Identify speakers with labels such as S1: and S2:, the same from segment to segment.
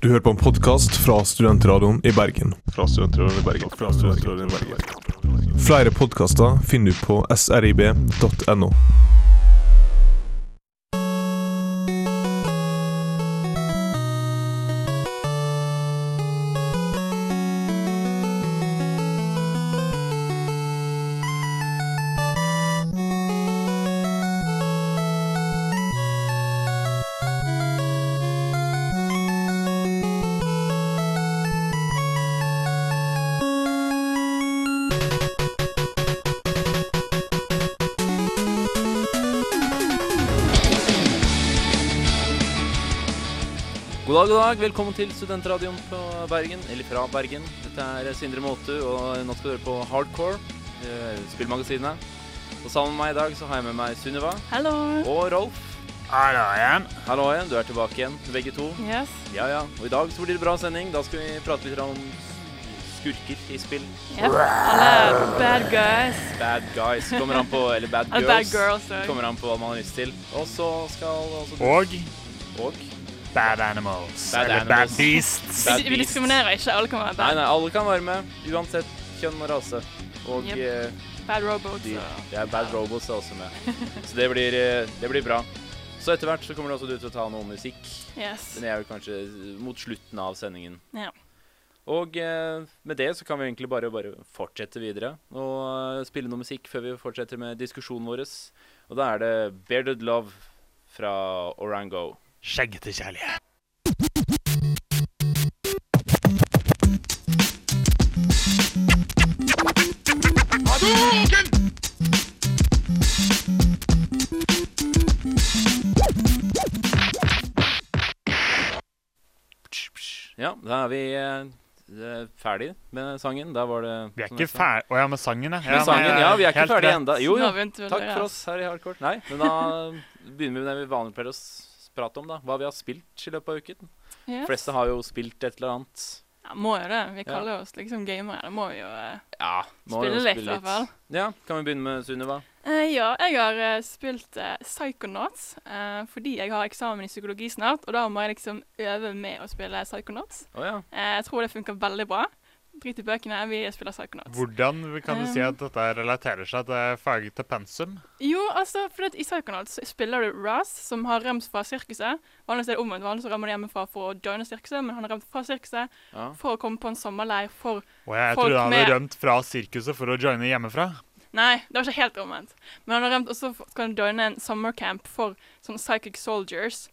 S1: Du hører på en podkast fra Studentradioen i Bergen.
S2: Fra Studentradioen i Bergen. Fra Studentradioen i Bergen.
S1: Flere podkaster finner du på srib.no.
S3: God dag, god dag. Velkommen til Studentradioen på Bergen, eller fra Bergen. Dette er Sindre Måtu, og nå skal du høre på Hardcore, eh, spillmagasinet. Og sammen med meg i dag så har jeg med meg Sunniva
S4: Hallo.
S3: og Rolf. Hallo igjen. Du er tilbake igjen, begge to.
S4: Yes.
S3: Ja, ja. Og i dag så blir det bra sending. Da skal vi prate litt om skurker i spill.
S4: Yep. Alle bad guys.
S3: Bad guys kommer an på, eller bad
S4: Alle
S3: girls.
S4: bad girls òg.
S3: Kommer an på hva man har lyst til. Og så skal altså også
S5: Og
S3: Og?
S5: Bad Animals.
S3: Bad
S5: eller
S3: Animals.
S5: Bad Beasts.
S3: Bad
S4: Vi, vi
S3: beast.
S4: diskriminerer ikke. Alle kan være
S3: Nei,
S4: bad,
S3: nei, alle kan være med. Uansett kjønn og rase. Og
S4: Yep.
S3: eh,
S4: bad robots.
S3: De,
S4: og-
S3: det er Bad Robots er også med. Så det blir, eh, det blir bra. Så etter hvert så kommer det også du til å ta noe musikk.
S4: Yes.
S3: Den er vel kanskje eh, mot slutten av sendingen.
S4: Ja.
S3: Og eh, med det så kan vi egentlig bare, bare fortsette videre og eh, spille noe musikk før vi fortsetter med diskusjonen vår. Og da er det Bearded Love fra Orango.
S5: Skjeggete kjærlighet.
S3: Ja, da er vi eh, ferdig med sangen. Da var det
S5: Vi er
S3: som
S5: ikke
S3: jeg sa.
S5: ferdig Å ja, med sangen, ja.
S3: Med sangen, ja. Vi er ikke
S5: helt
S3: ferdig
S5: rett.
S3: ennå. Jo,
S4: Nå
S3: jo.
S4: har vi begynt å
S3: Takk for
S4: lure.
S3: oss her i Hardcore. Nei, men da begynner vi med det vi vanlig pleier å s- prate om, da. Hva vi har spilt i løpet av uken. De
S4: Yes.
S3: fleste har jo spilt et eller annet.
S4: Ja, må jo det. Vi kaller oss liksom gamere. Det må jo eh,
S3: Ja, må jo
S4: spille litt, i hvert fall.
S3: Ja, kan vi begynne med Sunniva?
S4: Eh, ja, jeg har eh, spilt eh, Psychonauts eh, fordi jeg har eksamen i psykologi snart, og da må jeg liksom øve med å spille Psychonauts.
S3: Å ja.
S4: Eh, jeg tror det funker veldig bra. Drit i bøkene, vi spiller Psychonauts.
S5: Hvordan kan du si
S4: Um.
S5: at dette relaterer seg til faget til pensum?
S4: Jo, altså, for at i Psychonauts så spiller du Raz, som har rømt fra sirkuset. Vanligvis er det omvendt. Vanligvis så rømmer de hjemmefra for å joine sirkuset, men han har rømt fra sirkuset
S3: ja.
S4: for å komme på en sommerleir for
S5: Og jeg
S4: Folk
S5: trodde han hadde
S4: med-
S5: rømt fra sirkuset for å joine hjemmefra.
S4: Nei, det var ikke helt omvendt. Men han har rømt, og så skal han joine en summercamp for sånne psychic soldiers,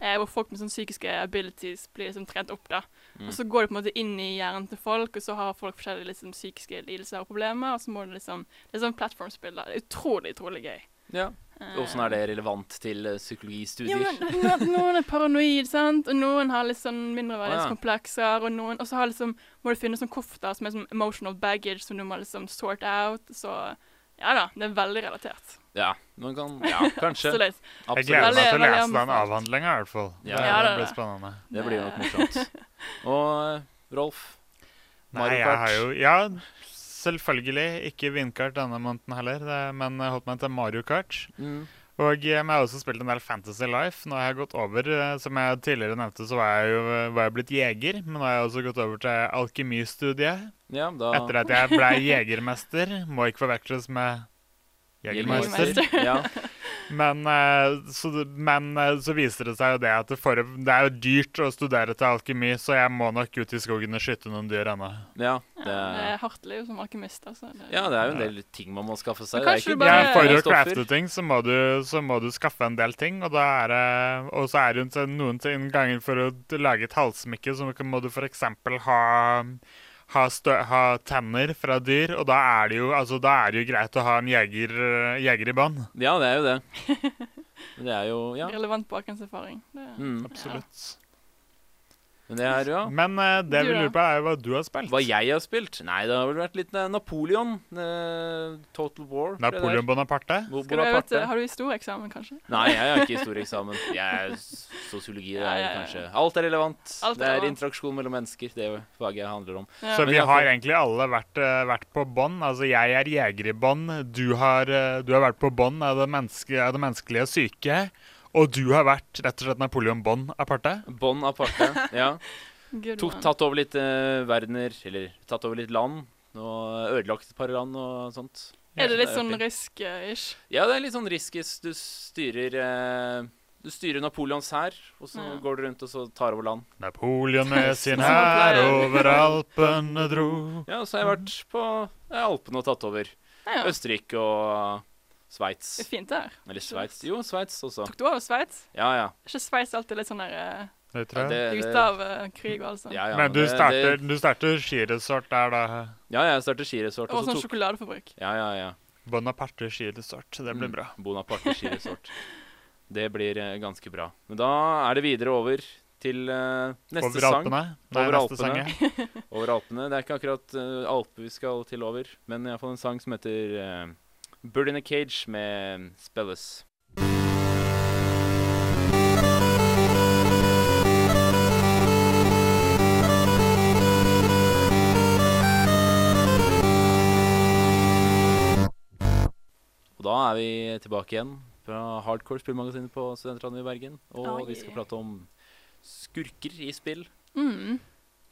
S4: eh, hvor folk med sånne psykiske abilities blir liksom trent opp, da.
S3: Mm.
S4: Og så går det på en måte inn i hjernen til folk, og så har folk forskjellige liksom, psykiske lidelser og problemer, og så må du liksom Det er sånn plattformspill, da. Det er Utrolig, utrolig gøy.
S3: ja.
S4: Eh,
S3: Åssen er det relevant til eh,
S4: Ja,
S3: psykologistudier?
S4: men no- noen er paranoid, sant? og noen har litt sånn mindreverdighetskomplekser. Og noen, og så har liksom, må du finne sånn kofter som er sånn emotional baggage som du må liksom sort out. Så ja da, det er veldig relatert.
S3: Ja, man kan Ja, kanskje.
S4: Absolutt.
S5: Jeg gleder
S3: Absolutt.
S5: meg
S4: Veldig-
S5: til å lese
S4: veldig
S5: den
S4: anbefalt.
S5: avhandlinga, i hvert fall.
S3: Ja.
S5: Det,
S4: Ja, det er
S5: blir
S4: det.
S5: spennende.
S3: Det blir nok morsomt. Og eh, Rolf?
S5: Nei,
S3: Mario
S5: jeg
S3: Kart.
S5: har jo Ja, selvfølgelig ikke vinkart denne måneden heller, det- men jeg holdt meg til Mario Kart.
S3: Mm.
S5: Og eh, men jeg har også spilt en del Fantasy Life. Nå har jeg gått over, eh, som jeg tidligere nevnte, så var jeg jo var jeg blitt jeger. Men nå har jeg også gått over til alkemistudiet.
S3: Ja, da
S5: Etter at jeg ble jegermester. Må ikke forveksles med jegermester.
S4: Jegermester.
S3: Ja.
S5: Men, eh, så, det- men eh, så viser det seg jo det at det, for, det er jo dyrt å studere til alkemi, så jeg må nok ut i skogen og skyte noen dyr ennå.
S3: ja,
S4: Ja,
S3: det
S4: det er hardt liv som alkymist, altså. Det,
S3: ja, det er jo en del ting man må skaffe seg.
S4: Men
S3: Det er
S4: kanskje
S3: ikke
S4: du bare-
S5: Ja,
S3: bare
S5: for å
S3: stoffer.
S5: crafte ting, så må, du, så må du skaffe en del ting. Og, da er det, og så er det jo til- noen ting ganger for å t- lage et halssmykke, så kan- må du f.eks. ha ha, stø ha tenner fra dyr, og da er det jo, altså, da er det jo greit å ha en jeger, jeger i bånd.
S3: Ja, det er jo det. Men det er jo Ja.
S4: Relevant bakgrunnserfaring. Det,
S3: Mm.
S5: Absolutt.
S3: Men det er jo
S5: Men eh, det vi
S4: Du da?
S5: lurer på, er jo hva du har spilt.
S3: Hva jeg har spilt? Nei, det har vel vært litt eh, Napoleon. eh, Total War. det
S5: Napoleon Bonaparte?
S3: der. Bo-
S4: Skal du, jeg vet,
S3: Bonaparte.
S4: har du historieeksamen, kanskje?
S3: Nei, jeg har ikke historieeksamen. Jeg er s- sosiologi, det
S4: Ja,
S3: er
S4: ja, ja.
S3: kanskje Alt er relevant.
S4: Alt er
S3: det er
S4: relevant.
S3: interaksjon mellom mennesker. Det er jo faget jeg handler om.
S4: Ja.
S5: Så
S3: men altså-
S5: vi
S3: jeg
S5: har
S3: får-
S5: egentlig alle vært, eh, vært på bånd. Altså, jeg er jeger i bånd. Du, har, eh, du har vært på bånd av, det menneske, av det menneskelige syke. Og du har vært rett og slett Napoleon Bond aparte?
S3: Bånd aparte. Ja.
S4: Good
S3: Tok,
S4: one.
S3: tatt over litt eh, verdener, eller tatt over litt land. Og ødelagt et par land og sånt.
S4: Er det litt sånn
S3: fint.
S4: risk-ish?
S3: Ja, det er litt sånn riskis. Du styrer eh, Du styrer Napoleons hær, og så
S4: Ja.
S3: går du rundt og så tar over land.
S5: Napoleon med sin
S4: Som
S5: hær
S4: pleier.
S5: over Alpene dro.
S3: Ja, så har jeg vært på ja, Alpene og tatt over.
S4: Mhm. Ja, ja.
S3: Østerrike og Sveits.
S4: Det er fint der.
S3: Eller Sveits. Jo, Sveits også.
S4: Tok du over Sveits?
S3: Ja, ja.
S4: Er ikke Sveits alltid litt sånn der eh,
S5: Det
S3: ja,
S5: tror jeg.
S3: det-
S4: ute av eh, krig og alt sånt?
S3: ja, ja,
S5: Men du
S3: det-
S5: starter,
S3: det-
S5: du starter skiresort der, da.
S3: Ja, ja, jeg starter skiresort.
S4: Og
S3: Og så
S4: sånn
S3: tok
S4: sjokoladefabrikk.
S3: Ja, ja, ja.
S5: Bonaparte skiresort. Det blir
S3: Mm.
S5: bra.
S3: Bonaparte skiresort. Det blir eh, ganske bra. Men da er det videre over til eh, neste
S5: Over
S3: sang.
S5: Alpene. Nei,
S3: Over
S5: neste sang.
S3: Alpene.
S5: ja.
S3: Over Alpene. Det er ikke akkurat uh, Alpe vi skal til over, men iallfall en sang som heter eh, Bird in a Cage med um, Spellis. Og da er vi tilbake igjen fra Hardcore spillmagasinet på Studentradioen i Bergen. Og
S4: Oh,
S3: vi skal
S4: yeah.
S3: prate om skurker i spill.
S4: Mm.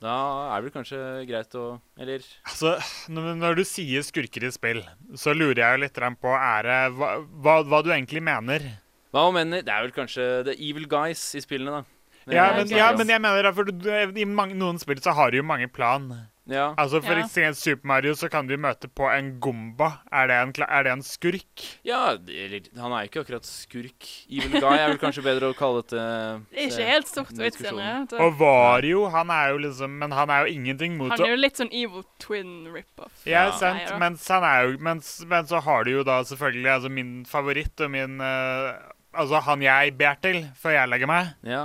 S3: Da er det vel kanskje greit å Eller
S5: Altså, når, når du sier skurker i spill, så lurer jeg jo litt grann på ære hva, hva, hva du egentlig mener.
S3: hva man mener Det er vel kanskje The Evil Guys i spillene, da. Eh, Det er
S5: Ja,
S3: det
S5: men,
S3: vi
S5: ja,
S3: snakker om.
S5: men jeg mener det, for du, du- i mange, noen spill så har du jo mange plan.
S3: ja.
S5: Altså, For
S4: Ja.
S5: eksempel Super Mario så kan du jo møte på en gomba. Er det en, kla- er det en skurk?
S3: ja, det- eller han er jo ikke akkurat skurk. Evil Guy er vel kanskje bedre å kalle eh, dette
S4: Det er ikke helt sort og hvitt,
S3: Diskusjon.
S4: senere. vet du.
S5: eh, Og Vario, han er jo liksom Men han er jo ingenting mot
S4: Han
S5: å
S4: er jo litt sånn evil twin rip-off.
S5: Ja,
S3: Ja.
S5: sant.
S4: Nei, ja.
S5: Mens han er jo mens, Men så har du jo da selvfølgelig altså min favoritt og min eh, Altså han jeg ber til før jeg legger meg.
S3: Ja,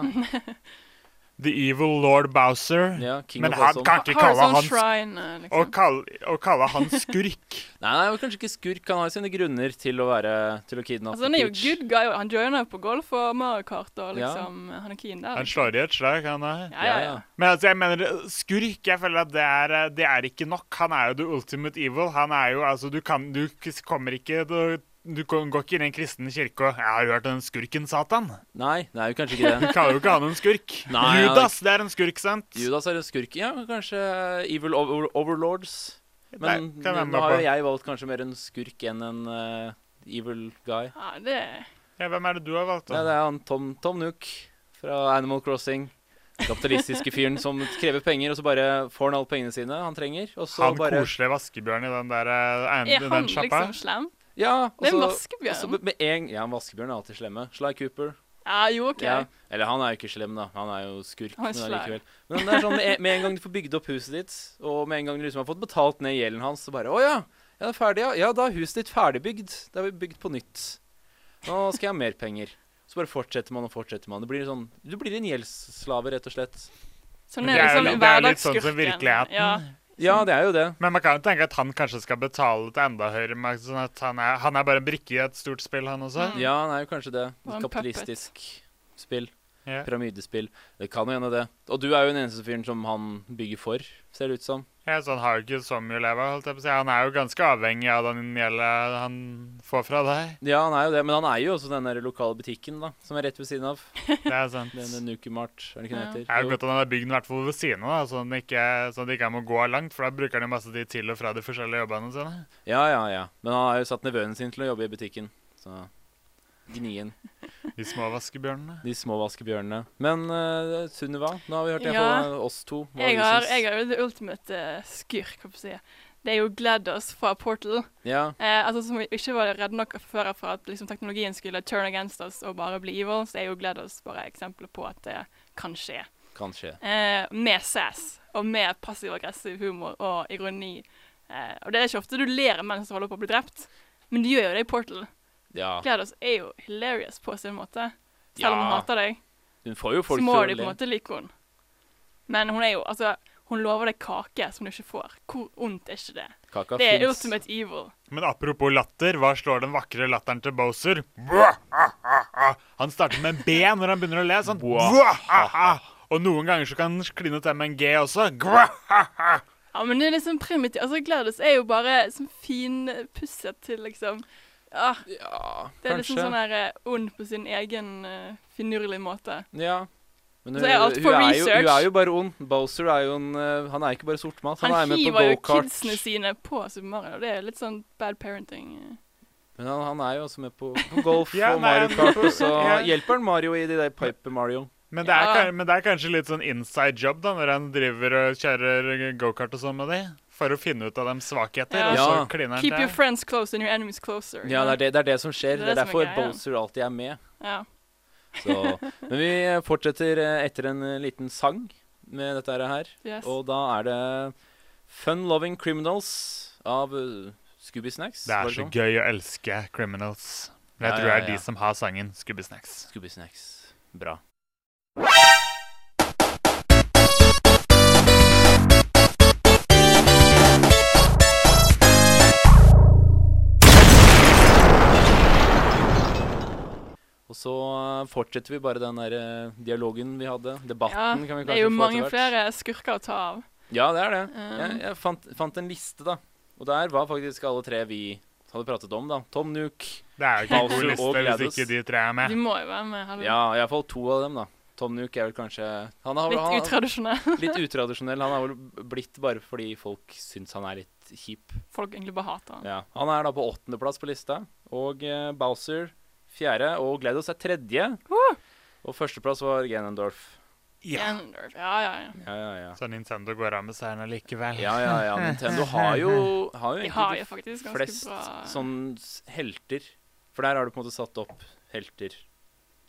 S5: The Evil Lord Bowser.
S3: ja, King
S5: men
S3: of
S5: han
S3: Awesome.
S5: kan ikke kalle
S3: sånn
S4: Horizon
S5: han sk-
S4: Shrine, eh,
S5: Å
S4: liksom.
S5: kalle, å kalle han skurk.
S3: Nei, han er jo kanskje ikke skurk. Han har jo sine grunner til å være Til å kidnappe
S4: Altså, han er jo
S3: Peach.
S4: good guy, og han joiner jo på golf og Mario Kart og
S3: Ja.
S4: liksom eh, Han er keen der.
S5: Han slår i et slag, han er.
S4: Ja, ja, ja.
S5: Men altså, jeg mener, skurk Jeg føler at det er, eh, det er ikke nok. Han er jo the ultimate evil. Han er jo Altså, du kan Du k- kommer ikke Du, du går ikke inn i en kristen kirke og 'Jeg har hørt den skurken, Satan'.
S3: Nei, det er jo kanskje ikke det.
S5: Du kaller jo ikke han en skurk.
S3: Nei, han er
S5: Judas, det er en skurk, sant?
S3: Judas er en skurk. Ja, kanskje eh, Evil over Overlords. Men
S5: Nei, kan jeg være
S3: nå
S5: med
S3: har
S5: på.
S3: jo jeg valgt kanskje mer en skurk enn en eh, evil guy.
S4: Ja, det
S5: Ja, hvem er det du har valgt,
S3: Ja,
S5: da?
S3: det er han Tom, Tom Nook fra Animal Crossing. Den Kapitalistiske fyren som krever penger, og så bare får han alle pengene sine han trenger. Og så
S5: han
S3: bare
S5: koselige vaskebjørnen i den der eh, eiend-
S4: Er
S5: i
S4: han
S5: den sjappa?
S4: liksom slem?
S3: Ja, og
S4: Det er en
S3: så- og så
S4: vaskebjørn.
S3: med en, ja, en vaskebjørn er alltid slemme. Sly Cooper.
S4: Ja, jo, OK.
S3: Ja. Eller han er jo ikke slem, da. Han er jo skurk.
S4: Han
S3: Men,
S4: er Sly.
S3: allikevel. men det er sånn med en, med en gang du får bygd opp huset ditt, og med en gang du liksom har fått betalt ned gjelden hans, så bare Å ja, ja, det er ferdig, ja. Ja, da er huset ditt ferdigbygd. Da er vi bygd på nytt. Nå skal jeg ha mer penger. Så bare fortsetter man og fortsetter man. Det blir sånn, du blir en gjeldsslave, rett og slett.
S4: Sånn
S5: Men
S4: er
S5: det er jo
S4: liksom
S5: litt- det er litt sånn
S4: hverdagsskurken.
S5: som virkeligheten.
S4: Ja.
S3: Ja, det er jo det.
S5: Men man kan jo tenke at han kanskje skal betale til enda høyere makt, sånn at han er, han er bare en brikke i et stort spill, han også.
S4: Mm.
S3: Ja, han er jo kanskje det. Et
S4: Og en
S3: kapitalistisk spill.
S5: Ja.
S3: Pyramidespill. Det kan jo hende, det. Og du er jo den eneste fyren som han bygger for, ser det ut som.
S5: Ja, så han har jo ikke så mye å leve av, holdt jeg på å si. Han er jo ganske avhengig av den gjelda han får fra deg.
S3: Ja, han er jo det, men han eier jo også den der lokale butikken, da, som er rett ved siden av.
S5: Det er sant.
S3: Den Nukimart, er det ikke den
S4: Ja.
S5: Det er jo
S3: heter?
S5: godt at han har bygd den i hvert fall ved siden av, da, sånn at ikke, sånn at ikke han må gå langt, for da bruker han jo masse tid til og fra de forskjellige jobbene sine.
S3: Jo. Ja, ja, ja. Men han har jo satt nevøen sin til å jobbe i butikken, så Gnien.
S5: De små vaskebjørnene.
S3: De små vaskebjørnene. Men eh, Sunniva, nå har vi hørt
S4: Ja.
S3: iallfall oss to. Hva
S4: Jeg
S3: du
S4: har,
S3: syns.
S4: jeg har jo det ultimate eh, skurk, hva skal jeg si. Det er jo GLaDOS fra Portal.
S3: Ja.
S4: Eh, altså Som ikke var redd nok før for at liksom, teknologien skulle turn against us og bare bli evil, så er jo GLaDOS bare eksempler på at det kan skje.
S3: Kan skje.
S4: Eh, med sass og med passiv-aggressiv humor og ironi. Eh, og det er ikke ofte du ler av menn som holder på å bli drept, men de gjør jo det i Portal.
S3: Ja.
S4: GLaDOS er jo hilarious på sin måte. Selv om hun
S3: Ja.
S4: hater deg,
S3: Hun får jo
S4: så
S3: folk
S4: må
S3: til å
S4: de på en
S3: le.
S4: måte like henne. Men hun er jo Altså, hun lover deg kake som du ikke får. Hvor ondt er ikke det?
S3: Kaka
S4: Det er
S3: fins.
S4: ultimate evil.
S5: Men apropos latter, hva slår den vakre latteren til Bowser? Bwah, ah, ah, ah. Han starter med en B når han begynner å le. sånn. Bwah, ah, ah. Og noen ganger så kan han kline til med en G også. Bwah, ah, ah.
S4: Ja, men det er liksom primitivt. Altså, Gladys er jo bare sånn finpusset til liksom ah,
S3: Ja,
S4: Det er
S3: kanskje.
S4: liksom sånn her eh, ond på sin egen uh, finurlige måte.
S3: Ja. Men
S4: Så
S3: hun,
S4: er alt for
S3: hun, er jo, hun
S4: research.
S3: er jo bare ond. Bowser er jo en eh, Han er ikke bare sortmat. Han,
S4: Han,
S3: er med på
S4: hiver jo
S3: gokart.
S4: kidsene sine på Super Mario. og Det er litt sånn bad parenting. eh.
S3: Men han, han er jo også med på, på golf
S5: Ja,
S3: og
S5: nei,
S3: Mario
S5: han-
S3: Kart, og så
S5: Ja.
S3: hjelper han Mario i de der Piper Mario.
S5: Men det, er,
S4: Ja.
S5: kan- men det er kanskje litt sånn inside job da, når han driver og kjører gokart og sånn med de, for å finne ut av dem svakheter,
S4: Ja.
S5: og
S3: Ja.
S5: så kliner han
S4: Keep your
S5: til.
S4: friends close and your enemies closer.
S3: Ja, det er det, det, er det som skjer.
S4: Det
S3: Det
S4: er
S3: er,
S4: det som er
S3: derfor
S4: greia.
S3: Bowser alltid er med.
S4: Ja.
S3: Så. Men vi fortsetter eh, etter en eh, liten sang med dette her.
S4: Yes.
S3: Og da er det Fun Loving Criminals av eh, Scooby Snacks.
S5: Det
S3: var
S5: er så
S3: sånn?
S4: liksom.
S5: gøy å elske criminals. Men jeg
S3: Ja,
S5: tror
S3: ja,
S5: det er
S3: ja.
S5: de som har sangen Scooby Snacks.
S3: Scooby Snacks. Bra. Og så eh, fortsetter vi bare den der eh, dialogen vi hadde. Debatten
S4: Ja,
S3: kan vi kanskje få
S4: det er jo mange
S3: etter hvert.
S4: flere skurker å ta av.
S3: Ja, det er det. Jeg,
S4: Um,
S3: jeg fant, fant en liste, da. Og der var faktisk alle tre vi hadde pratet om, da. Tom Nook.
S5: Det er jo ikke en
S3: Bowser
S5: god
S3: og
S5: liste hvis
S3: Gladys.
S5: ikke de tre er
S4: de
S5: med.
S4: må jo være med. hallo.
S3: Ja, iallfall to av dem, da. Tom Nook er vel kanskje han har,
S4: Litt
S3: han,
S4: utradisjonell.
S3: litt utradisjonell. Han har vel blitt bare fordi folk syns han er litt kjip.
S4: Folk egentlig bare hater han.
S3: Ja. Han er da på åttendeplass på lista. Og eh, Bowser fjerde. Og Glados er tredje. Og førsteplass var Ganondorf.
S5: Ja.
S4: Ganondorf. Ja, ja, ja.
S3: Ja, ja, ja.
S5: Så Nintendo går av med seieren allikevel.
S3: Ja, ja, ja. Nintendo har jo, har jo
S4: De har
S3: egentlig
S4: jo faktisk ganske
S3: flest
S4: bra
S3: sånn s- helter. For der har du på en måte satt opp helter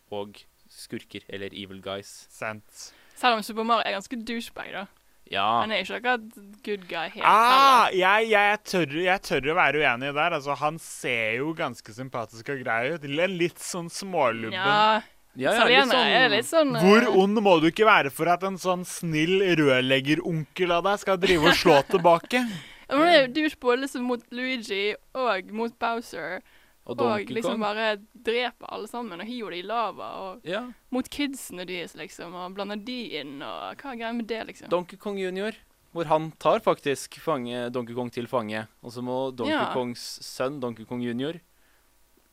S3: og skurker, eller evil guys.
S5: Sant.
S4: Selv om Super Mario er ganske douchebag, da.
S3: Ja.
S4: Han er ikke akkurat good guy helt.
S5: Ah,
S4: heller.
S5: jeg, jeg, tør, jeg tør å være uenig der. Altså, han ser jo ganske sympatisk og grei ut. En litt sånn smålubben.
S4: Ja,
S3: ja, ja litt
S4: italienere er
S3: sånn
S4: litt sånn eh,
S5: Hvor ond må du ikke være for at en sånn snill rørleggeronkel av deg skal drive og slå tilbake?
S4: Ja, Men det er jo douche både liksom mot Luigi og mot Bowser.
S3: Og
S4: Og,
S3: Donkey
S4: liksom
S3: Kong.
S4: bare dreper alle sammen og hiver de i lava. Og
S3: Ja.
S4: mot kidsene deres, liksom, og blander de inn, og hva er greia med det, liksom?
S3: Donkey Kong junior, hvor han tar faktisk fange, Donkey Kong til fange. Og så må Donkey
S4: Ja.
S3: Kongs sønn, Donkey Kong junior,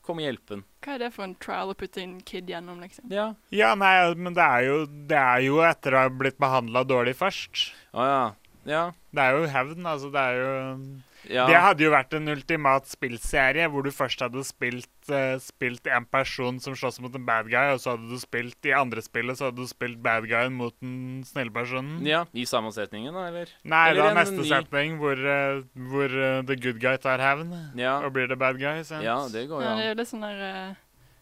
S3: komme og hjelpe han.
S4: Hva er det for en trial å putte en kid gjennom, liksom?
S3: Ja.
S5: Ja, nei, men det er jo, det er jo etter å ha blitt behandla dårlig først.
S3: Å ja. Ja.
S5: Det er jo hevn, altså. Det er jo
S3: ja.
S5: Det hadde jo vært en ultimat spillserie hvor du først hadde spilt, eh, spilt en person som slåss mot en bad guy, og så hadde du spilt i andre spillet så hadde du spilt bad guyen mot den snille personen.
S3: ja. I sammensetningen, da, eller?
S5: Nei,
S3: Eller
S5: da
S3: en
S5: neste
S3: ny-
S5: setning hvor, eh, hvor eh, the good guy tar hevn,
S3: Ja.
S5: og blir the bad guy. Sant?
S3: Ja, det går jo
S4: Ja, det
S3: an.
S4: er jo litt sånn der eh,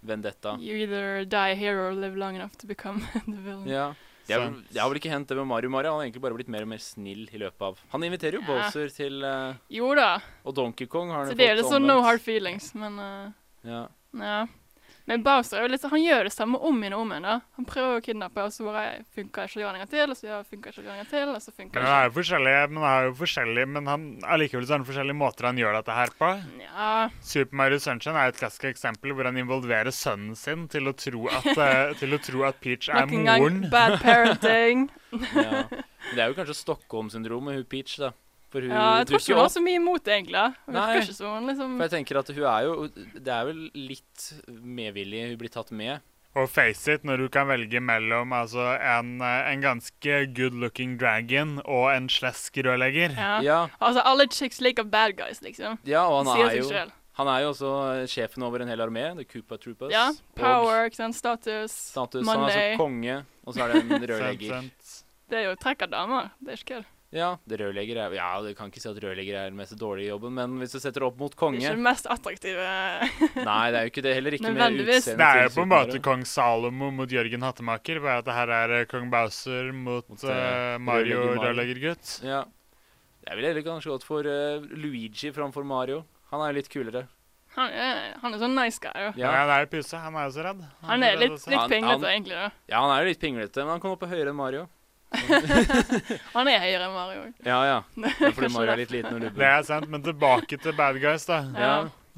S3: Vendetta.
S4: You either die a hero or live long enough to become the villain.
S3: Ja. Det har,
S5: Sant.
S3: det har vel ikke hendt det med Mario Mario. Han har egentlig bare blitt mer og mer snill i løpet av Han inviterer jo
S4: Ja.
S3: Bowser til eh,
S4: Jo da.
S3: Og Donkey Kong har han
S4: Så
S3: jo
S4: det er
S3: fått
S4: litt sånn no
S3: omvendt.
S4: hard feelings, men eh,
S3: Ja.
S4: Ja. Men Bowser er jo litt, sånn- han gjør det samme om igjen og om igjen. da. Han prøver å kidnappe, og så bare funker ikke det en gang til, og så ja, funker ikke det en gang til, og så funker
S5: Men
S4: det
S5: han
S4: ikke.
S5: er jo forskjellig, men han er jo forskjellig, men han, allikevel så er det forskjellige måter han gjør dette her på.
S4: Ja,
S5: Super Mario Sunshine er jo et klassisk eksempel hvor han involverer sønnen sin til å tro at, eh, til å tro at Peach er
S4: nok en
S5: moren.
S4: gang bad parenting.
S3: ja. Men det er jo kanskje Stockholm-syndromet, hun Peach, da. For hun
S4: Ja, jeg tror
S3: dukker
S4: ikke hun har
S3: opp.
S4: så mye imot det, egentlig. da. Hun
S3: Nei.
S4: virker ikke som hun liksom
S3: For jeg tenker at hun er jo Det er vel litt medvillig hun blir tatt med.
S5: Og face it, når du kan velge mellom altså, en, eh, en ganske good looking dragon og en slesk rørlegger.
S4: ja.
S3: Ja,
S4: Altså, alle chicks liker bad guys, liksom.
S3: ja og han
S4: Sier
S3: er,
S4: seg
S3: jo,
S4: selv.
S3: han er jo også eh, sjefen over en hel armé, The Koopa Troopers.
S4: Ja.
S3: Og
S4: Power, ikke sant, status,
S3: status. Han er
S4: Monday.
S3: altså konge, og så er det en
S5: Sant,
S3: rørlegger.
S5: sant.
S4: Det er jo trekk av damer. Det er ikke kødd.
S3: Ja, det rørlegger er Ja, du kan ikke si at rørlegger er den mest dårlige jobben, men hvis du setter det opp mot
S4: Det er
S3: konge
S4: ikke det mest attraktive
S3: Nei, det er jo ikke det. Heller ikke med
S4: Nødvendigvis.
S5: Det er
S3: til
S5: jo på en
S3: Super
S5: måte
S3: Mario.
S5: kong Salomo mot Jørgen Hattemaker, bare at det her er eh, kong Bowser mot,
S3: Mot,
S5: eh,
S3: eh,
S5: Mario
S3: rørlegger Mario.
S5: rørleggergutt.
S3: Ja. Jeg ville heller kanskje gått for eh, Luigi framfor Mario. Han er jo litt kulere.
S4: Han er, han er sånn nice guy, da.
S5: Ja.
S3: Ja,
S5: Han er jo puse, han er jo så redd.
S4: Han er sånn- litt,
S5: så redd,
S4: litt
S3: Han-
S4: pinglete,
S3: han-
S4: egentlig. da.
S3: ja han er jo litt pinglete, men han kom opp på høyere enn Mario.
S4: Han er høyere enn Mario.
S3: Ja, ja. Det er fordi
S4: Kanskje
S3: Mario er
S4: det.
S3: litt liten og
S5: altså. Det
S3: lubben.
S5: er sant, men tilbake til bad guys, da.
S3: Ja.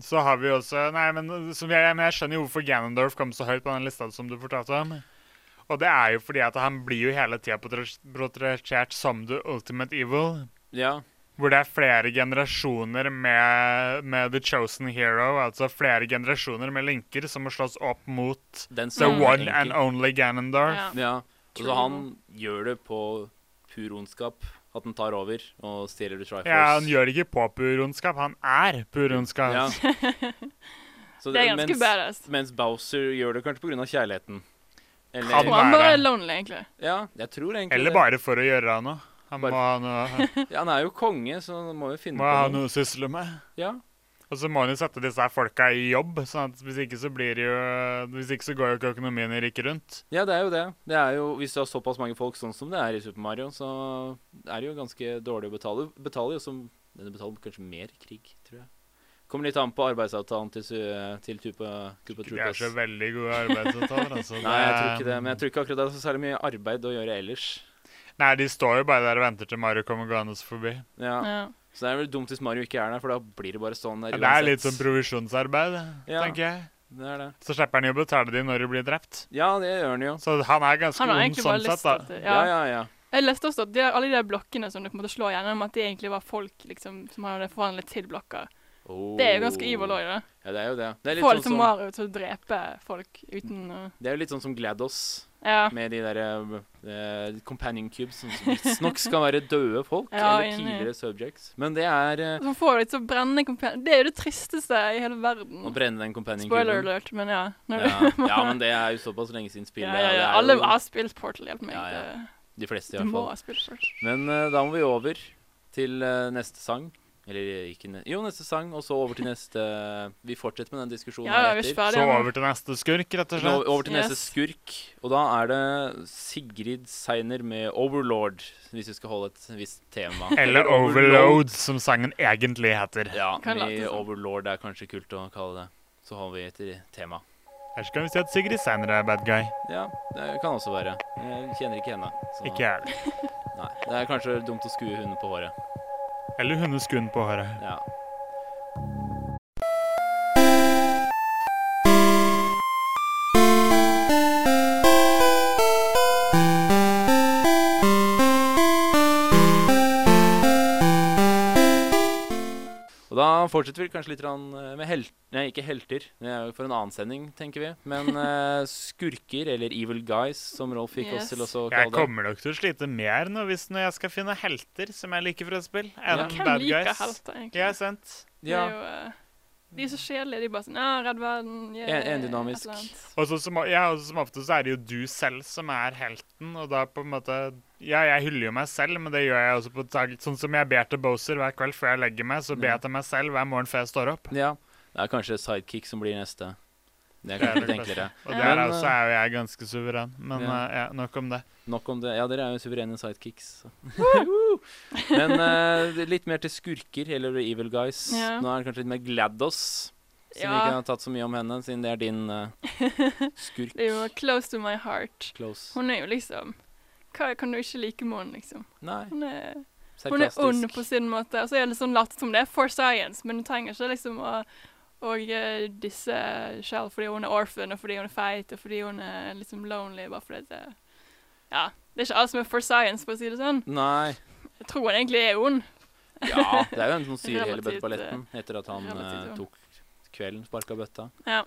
S5: Så har vi også Nei, men, som jeg, men jeg skjønner jo hvorfor Ganondorf kom så høyt på den lista som du fortalte om. Og det er jo fordi at han blir jo hele tida portrettert som the ultimate evil.
S3: ja.
S5: hvor det er flere generasjoner med, med The Chosen Hero, altså flere generasjoner med linker som må slåss opp mot
S3: Den
S5: The
S3: samme
S5: One
S3: linken.
S5: and Only Ganondorf.
S4: Ja.
S3: Mm. Ja. Og så
S4: True.
S3: han gjør det på pur ondskap. At han tar over og stjeler The Triforce.
S5: Ja, han gjør det ikke på pur ondskap, han er pur ondskap.
S3: Ja. Så
S4: Det er ganske
S3: mens,
S4: badass.
S3: mens Bowser gjør det kanskje pga. kjærligheten. Eller,
S5: Han
S4: Og han bare
S5: være.
S4: er lonely, egentlig.
S3: ja, jeg tror egentlig
S5: Eller
S3: det.
S5: bare for å gjøre noe. Han
S3: Bare-
S5: må ha noe,
S3: Ja, han er jo konge, så han må jo finne
S5: må ha
S3: på noe.
S5: noe å sysle med.
S3: Ja.
S5: Og så må han jo sette disse her folka i jobb, sånn at hvis ikke så blir det jo Hvis ikke så går jo ikke økonomien i riket rundt.
S3: ja, det er jo det. det er jo, hvis du har såpass mange folk sånn som det er i Super Mario, så er det jo ganske dårlig å betale. Betaler jo som Men du betaler kanskje mer krig, tror jeg. Kommer litt an på arbeidsavtalen til, su- til Tupa, Koopa
S5: De er
S3: Troopas.
S5: så veldig um, gode arbeidsavtaler, altså.
S3: Nei, jeg tror ikke det. Men jeg tror ikke akkurat det er så særlig mye arbeid å gjøre ellers.
S5: Nei, de står jo bare der og venter til Mario kommer gående forbi.
S3: Ja.
S4: Ja.
S3: Så det er vel dumt hvis Mario ikke er der, for da blir det bare sånn der
S5: Ja, det er litt sånn
S3: uansett.
S5: provisjonsarbeid,
S3: Ja.
S5: tenker jeg.
S3: Det er det.
S5: Så slipper han jo å betale de når de blir drept.
S3: Ja, det gjør han jo.
S5: Så han er ganske
S4: Han har
S5: ond
S4: egentlig bare
S5: sånn
S4: lyst
S5: sett,
S4: til at
S5: da.
S4: det-
S3: Ja,
S4: ja.
S3: ja, ja.
S4: Jeg leste også at de, alle de der blokkene som du på en måte slår gjennom, at de egentlig var folk liksom, som hadde forvandlet til blokker. Det er jo ganske evil òg, da.
S3: Ja, det er jo det. Oh. Det er litt,
S4: Få
S3: sånn
S4: liksom
S3: som,
S4: Mario til å drepe folk uten å
S3: det er jo litt sånn som GLaDOS,
S4: Ja.
S3: med de derre eh, companion cubes som visstnok skal være døde folk,
S4: Ja,
S3: eller
S4: enig.
S3: tidligere subjects. Men det er eh,
S4: Som får deg til å brenne kompen... Det er jo det tristeste i hele
S3: å
S4: verden.
S3: brenne den companion
S4: Spoiler
S3: cuben.
S4: alert, men ja. Når
S3: Ja. ja, men det er jo såpass lenge siden spillet.
S4: ja, ja,
S3: og det
S4: ja.
S3: er
S4: Alle
S3: jo
S4: har spilt Portal, hjelp meg.
S3: Ja, ja. de fleste, i
S4: Du
S3: hvert
S4: må
S3: fall.
S4: ha spilt Portal.
S3: Men eh, da må vi over til eh, neste sang. Eller eh, ikke ne Jo, neste sang, og så over til neste eh, Vi fortsetter med den diskusjonen
S4: Ja, ja,
S3: her
S4: vi
S3: etter.
S4: er ikke ferdige.
S5: Så
S4: ennå.
S5: over til neste skurk, rett og
S3: Nå
S5: slett.
S3: over til neste
S4: Yes.
S3: skurk, og da er det Sigrid Seiner med 'Overlord', hvis vi skal holde et visst tema.
S5: Eller Overload, som sangen egentlig heter.
S3: Ja,
S4: Kan late
S3: vi
S4: som.
S3: Overlord er kanskje kult å kalle det. Så har vi et tema.
S5: Her skal vi si at Sigrid Seiner er bad guy.
S3: Ja, det kan også være. Jeg kjenner ikke henne. Så
S5: Ikke jeg. heller.
S3: Nei, det er kanskje dumt å skue hunden på håret.
S5: Eller hundeskuen på håret.
S3: Ja. Og da fortsetter vi kanskje litt grann, eh, med helter Nei, ikke helter. Det er jo for en annen sending, tenker vi. Men eh, skurker, eller evil guys, som Rolf fikk
S4: Yes.
S3: oss til også å
S5: Jeg
S3: kalle det.
S5: kommer nok til å slite mer nå hvis når jeg skal finne helter som jeg liker fra spill, enn
S3: Ja.
S4: Hvem
S5: bad
S4: liker
S5: guys.
S4: helter, egentlig?
S5: Ja, sant.
S4: Det
S3: Ja,
S4: er jo, eh, de er så kjedelige. De er bare sånn Ja, redd verden. Yeah,
S3: En- en dynamisk.
S4: et eller annet.
S5: Og så som, ja, og som ofte så er det jo du selv som er helten, og da på en måte Ja, jeg hyller jo meg selv, men det gjør jeg også på dag. Sånn som jeg ber til Boser hver kveld før jeg legger meg, så ber
S3: Ja.
S5: jeg til meg selv hver morgen før jeg står opp.
S3: ja. Det er kanskje sidekick som blir neste. Det er
S5: Det er
S3: kanskje litt
S5: nok
S3: enklere.
S5: Og der
S3: Men,
S5: er også er jo jeg ganske suveren. Men
S3: Ja.
S5: eh, ja, nok om det.
S3: Nok om det. Ja, dere er jo suverene sidekicks. så. Men eh, det er litt mer til skurker, eller evil guys.
S4: Ja.
S3: Nå er det kanskje litt mer GLaDOS, siden vi
S4: Ja.
S3: ikke har tatt så mye om henne, siden det er din eh, skurk.
S4: Det er jo close to my heart.
S3: Close.
S4: Hun er jo liksom Hva kan du ikke like med henne, liksom?
S3: Nei,
S4: Hun er, hun er ond
S3: sarkastisk.
S4: på sin måte. Og så er det sånn latt som det er for science, men du trenger ikke liksom å og eh, disse Shell fordi hun er orphan, og fordi hun er feit, og fordi hun er liksom lonely, bare fordi det Ja. Det er ikke alt som er for science, for å si det sånn.
S3: Nei.
S4: Jeg tror hun egentlig er ond.
S3: Ja, det er jo en som syr i hele
S4: Relativt, eh,
S3: balletten etter at han
S4: relativt
S3: eh,
S4: ond.
S3: tok kvelden, sparka bøtta.
S4: Ja.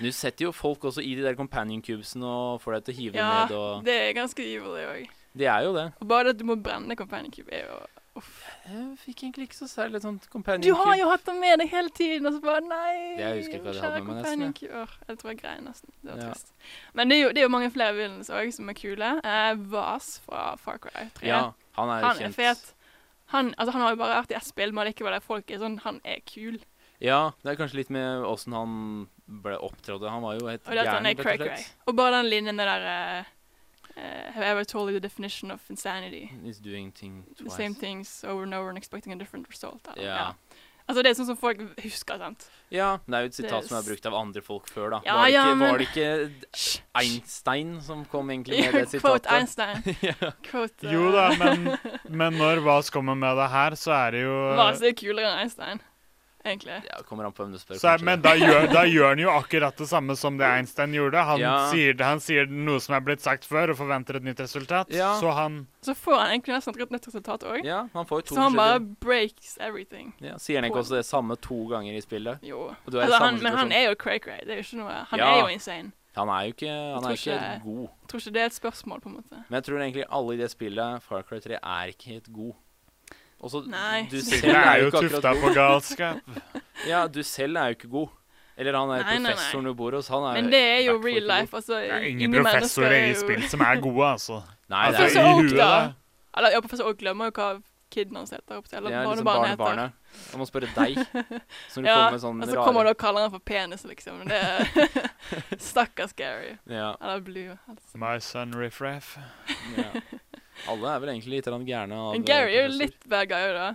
S3: Du setter jo folk også i de der companion cubesene og får deg til å hive
S4: ja
S3: dem ned og
S4: det er ganske evil, det òg.
S3: De er jo det.
S4: Og bare det at du må brenne Companion Cube, er jo
S3: Jeg fikk egentlig ikke så særlig sånn companion
S4: Du
S3: cube.
S4: har jo hatt den med deg hele tiden, og så bare nei.
S3: Det- jeg husker ikke hva de
S4: kjære
S3: hadde med meg,
S4: companion
S3: nesten,
S4: cure. Jeg tror jeg grein nesten. Det var
S3: Ja.
S4: trist. Men det er, jo, det er jo mange flere villains òg som er kule. Eh, Vas fra Far Cry 3.
S3: Ja, han er jo
S4: han er
S3: kjent.
S4: fet. Han, altså, han har jo bare vært i ett spill, men likevel er folk er sånn Han er kul.
S3: Ja, det er kanskje litt med åssen han ble opptrådt. Han var jo helt
S4: Og det at han
S3: gæren,
S4: er
S3: rett og
S4: cray-cray.
S3: slett.
S4: Og bare den linjen der eh, eh, Have I ever told you the definition of insanity?
S3: He's doing thing
S4: The
S3: twice.
S4: same things over and over and expecting a different result. eller-
S3: Ja.
S4: Altså, det er sånn som folk husker, sant.
S3: ja. Det er jo et sitat
S4: Det-
S3: som er brukt av andre folk før, da.
S4: Ja,
S3: var, det
S4: ja,
S3: ikke,
S4: men-
S3: var det ikke
S4: Hysj.
S3: Einstein som kom egentlig med det
S4: Quote
S3: sitatet?
S4: Einstein.
S3: ja.
S4: Quote, eh,
S5: Jo da, men, men når Vas kommer med det her, så er det jo
S4: Vase er kulere enn Einstein. egentlig.
S3: Ja, kommer an på hvem du spør.
S5: Så,
S3: kanskje.
S5: men da gjør, da gjør han jo akkurat det samme som det Einstein gjorde. Han,
S3: Ja.
S5: sier, han sier noe som er blitt sagt før, og forventer et nytt resultat.
S3: Ja.
S5: Så han
S4: Så får han egentlig nesten et nytt resultat òg.
S3: Ja, han får jo to
S4: Så han bare
S3: forskjellige-
S4: breaks everything.
S3: ja, Sier han ikke også det samme to ganger i spillet?
S4: Jo.
S3: Og du er i
S4: Eller,
S3: samme
S4: han, men han
S3: situasjon.
S4: er jo cray-cray. Det er jo ikke noe Han
S3: Ja.
S4: er jo insane.
S3: Han er jo ikke, han er
S4: tror
S3: jo ikke
S4: ikke-
S3: god.
S4: Jeg tror ikke det er et spørsmål, på en måte.
S3: Men jeg tror egentlig alle i det spillet, Far Cry 3, er ikke helt god. Også,
S4: Nei.
S3: Du selv
S5: Det er jo
S3: ikke akkurat
S5: tufta
S3: god.
S5: på galskap.
S3: Ja, du selv er jo ikke god. Eller han er
S4: Nei, nei, nei.
S3: professoren du bor hos. Han er
S4: Men det er jo
S3: hvertfall
S4: real
S3: ikke god.
S4: life. Altså,
S5: Det er ingen
S4: ingen mennesker
S5: professorer
S4: er
S5: i
S4: jo-
S5: spill som er gode, altså.
S3: Nei,
S5: altså
S3: det
S4: Altså,
S3: er,
S5: i
S4: Oak,
S5: huet,
S4: da.
S5: da.
S4: Eller ja, professor Oak glemmer jo hva kiden hans heter. opp til,
S3: det
S4: Eller
S3: er liksom
S4: barnebarnet heter.
S3: barnebarnet. Jeg må spørre deg, som du
S4: Ja,
S3: kommer med sånn
S4: og så kommer du
S3: rare
S4: og kaller han for penis, liksom. Det er Stakkars Gary.
S3: ja,
S4: Eller Blue. Altså.
S5: My son riff-raff.
S3: ja. Alle er vel egentlig litt grann gærne av
S4: Men Gary er jo
S3: professor.
S4: litt bad guy, da.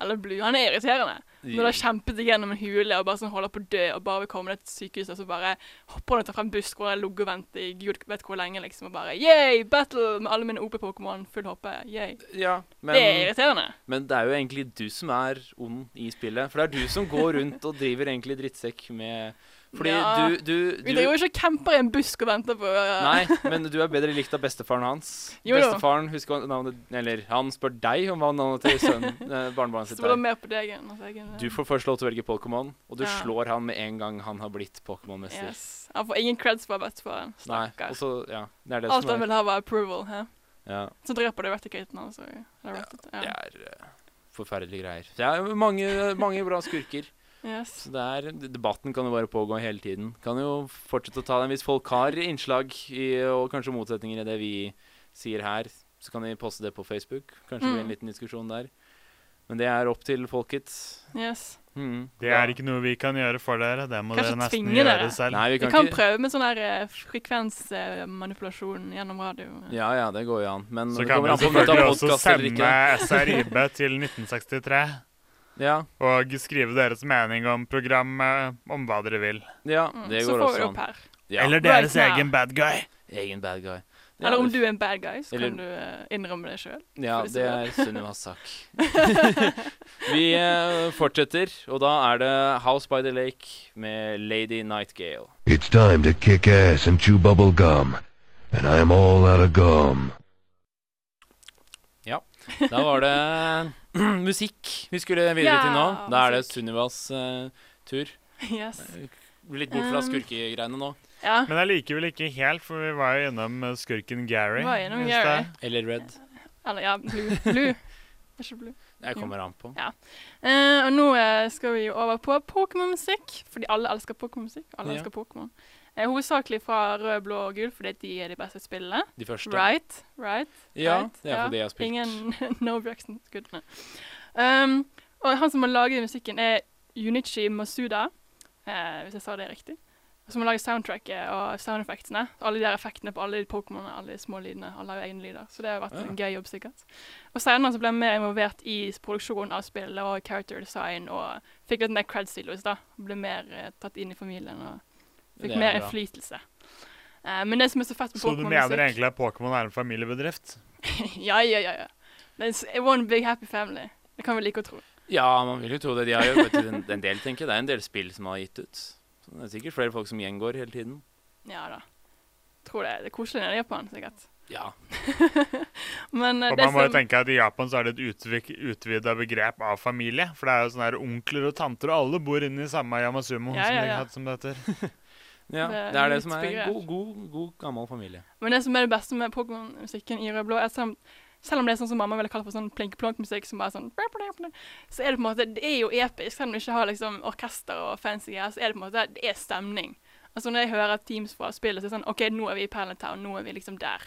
S4: Eller Blue. Han er irriterende. Når du har kjempet deg gjennom en hule og bare sånn holder på å dø, og bare vil komme deg til sykehuset, og så bare hopper han ut fra en busk hvor han har ligget og ventet i gud vet hvor lenge, liksom, og bare Yeah! Battle med alle mine OP-pokémon, full hoppe. Yeah.
S3: ja,
S4: det er
S3: men,
S4: irriterende.
S3: men det er jo egentlig du som er ond i spillet. For det er du som går rundt og driver egentlig drittsekk med Fordi du,
S4: Ja.
S3: du,
S4: Vi
S3: du
S4: driver jo ikke og camper i en busk og venter på uh,
S3: Nei, men du er bedre likt av bestefaren hans.
S4: Jo, jo.
S3: bestefaren husker hva navnet Eller han spør deg om hva navnet til sønnen eh, barnebarnet sitt
S4: Stoler
S3: er.
S4: mer på deg enn uh, at jeg er
S3: Du får først lov til å velge Pokémon, og du
S4: Ja.
S3: slår han med en gang han har blitt Pokémon-mester.
S4: yes. Han får ingen creds for å ha bedt for han.
S3: Nei, og
S4: Stakkar.
S3: så Ja. Det er det
S4: Alt han
S3: som er
S4: vil ha, var approval. Hæ?
S3: ja,
S4: Så dreper altså. det reticaten hans òg. Ja.
S3: Det er eh, forferdelige greier. Det er mange, mange bra skurker.
S4: Yes.
S3: Så det er, Debatten kan jo bare pågå hele tiden. Kan jo fortsette å ta den hvis folk har innslag i, og kanskje motsetninger i det vi sier her. Så kan de poste det på Facebook. Kanskje det blir en
S4: Mm.
S3: liten diskusjon der. Men det er opp til folket.
S4: yes.
S3: Mm.
S5: Det er ikke noe vi kan gjøre for dere. Det må
S4: Kanskje
S5: dere nesten
S4: tvinge
S5: gjøre
S4: dere.
S5: selv.
S3: Nei, vi
S4: Vi
S3: kan,
S4: kan
S3: ikke
S4: prøve med sånn her frekvensmanipulasjon gjennom radio.
S3: Ja ja, det går jo an. Men
S5: Så
S3: det
S5: kan
S3: kommer
S5: vi
S3: an på om du tar
S5: selvfølgelig også
S3: podkast eller
S5: sende
S3: ikke.
S5: SRIB til 1963
S3: Ja,
S5: og skrive deres mening om programmet, om hva dere vil.
S3: ja,
S4: Mm,
S3: det
S4: så
S3: går
S4: får vi det
S3: også an.
S4: opp her.
S3: Ja.
S5: Eller
S4: Right
S5: deres
S4: now.
S5: egen bad guy.
S3: Egen bad guy. Ja,
S4: Eller om
S3: det-
S4: du er en bad guy, så
S3: Eller-
S4: kan du eh, innrømme det sjøl.
S3: Ja,
S4: Får vi se
S3: det
S4: da.
S3: er Sunniva sak. vi eh, fortsetter, og da er det House by the Lake med Lady Nightgale.
S6: It's time to kick ass and chew bubble gum. And I am all out of gum.
S3: Da var det musikk vi skulle videre
S4: Ja,
S3: til nå. Da er det
S4: musikk.
S3: Sunnivas eh, tur.
S4: Yes.
S3: Litt bort fra
S4: Um,
S3: skurkegreiene nå.
S4: Ja.
S5: Men allikevel ikke helt, for vi var jo innom eh, skurken Gary.
S4: Var innom
S5: i
S4: Gary.
S5: sted.
S3: Eller Red.
S4: Eller ja, blue. blue. Det er ikke blue.
S3: Jeg kommer an på.
S4: Eh, og nå eh, skal vi jo over på Pokémon-musikk, fordi alle elsker Pokémon-musikk. Alle
S3: Ja.
S4: elsker Pokémon. Eh, hovedsakelig fra rød, blå og gul, fordi de er de beste spillene.
S3: De første.
S4: Right? Right?
S3: Ja,
S4: right,
S3: det er
S4: ja.
S3: fordi jeg har spilt.
S4: Ingen No Braxton-skuddene. Um, og han som har laget musikken, er Junichi Masuda, eh, hvis jeg sa det riktig. Som har laget soundtracket og sound effectsene. Alle de der effektene på alle de Pokémonene, alle de små lydene. Alle har jo egne lyder. Så det har vært
S3: Ah.
S4: en gøy jobb, sikkert. Og senere så ble han mer involvert i produksjonen av spillet og character design, og fikk litt mer creds til oss, da. Ble mer eh, tatt inn i familien og
S3: Det
S4: fikk
S3: er
S4: mer
S3: bra.
S4: innflytelse. Eh, men det som er så fett med
S5: Så du mener
S4: Pokémon-musikk
S5: egentlig at Pokémon er en familiebedrift?
S4: ja, ja, ja. ja. Det er s- one big happy family. Det kan vi like å tro.
S3: Ja, man vil jo tro det. De har jo vet du, en, en del, tenker jeg. Det er en del spill som har gitt ut. Så det er sikkert flere folk som gjengår hele tiden.
S4: Ja da. Tror det, det er koselig nede i Japan, sikkert.
S3: Ja.
S4: Men eh,
S5: Og
S4: det
S5: man må jo
S4: som
S5: tenke at I Japan så er det et utvik- utvidet begrep av familie. For det er jo sånne her onkler og tanter, og alle bor inne i samme Yamasumo.
S4: Ja,
S5: som
S4: ja,
S5: de
S4: ja.
S5: hadde som det heter.
S3: ja.
S4: Det er
S3: Det er det
S4: litt
S3: som er
S4: begrep.
S3: god, god, god gammel familie.
S4: Men det som er det beste med Pokémon-musikken i Rød Blå, er at selv om, selv om det er sånn som mamma ville kalt for sånn plink-plonk-musikk, som bare sånn Så er det på en måte Det er jo episk, selv om du ikke har liksom orkester og fancy greier, så er det på en måte Det er stemning. Altså Når jeg hører teams fra spillet, så er det sånn OK, nå er vi i Pallet Town, nå er vi liksom der.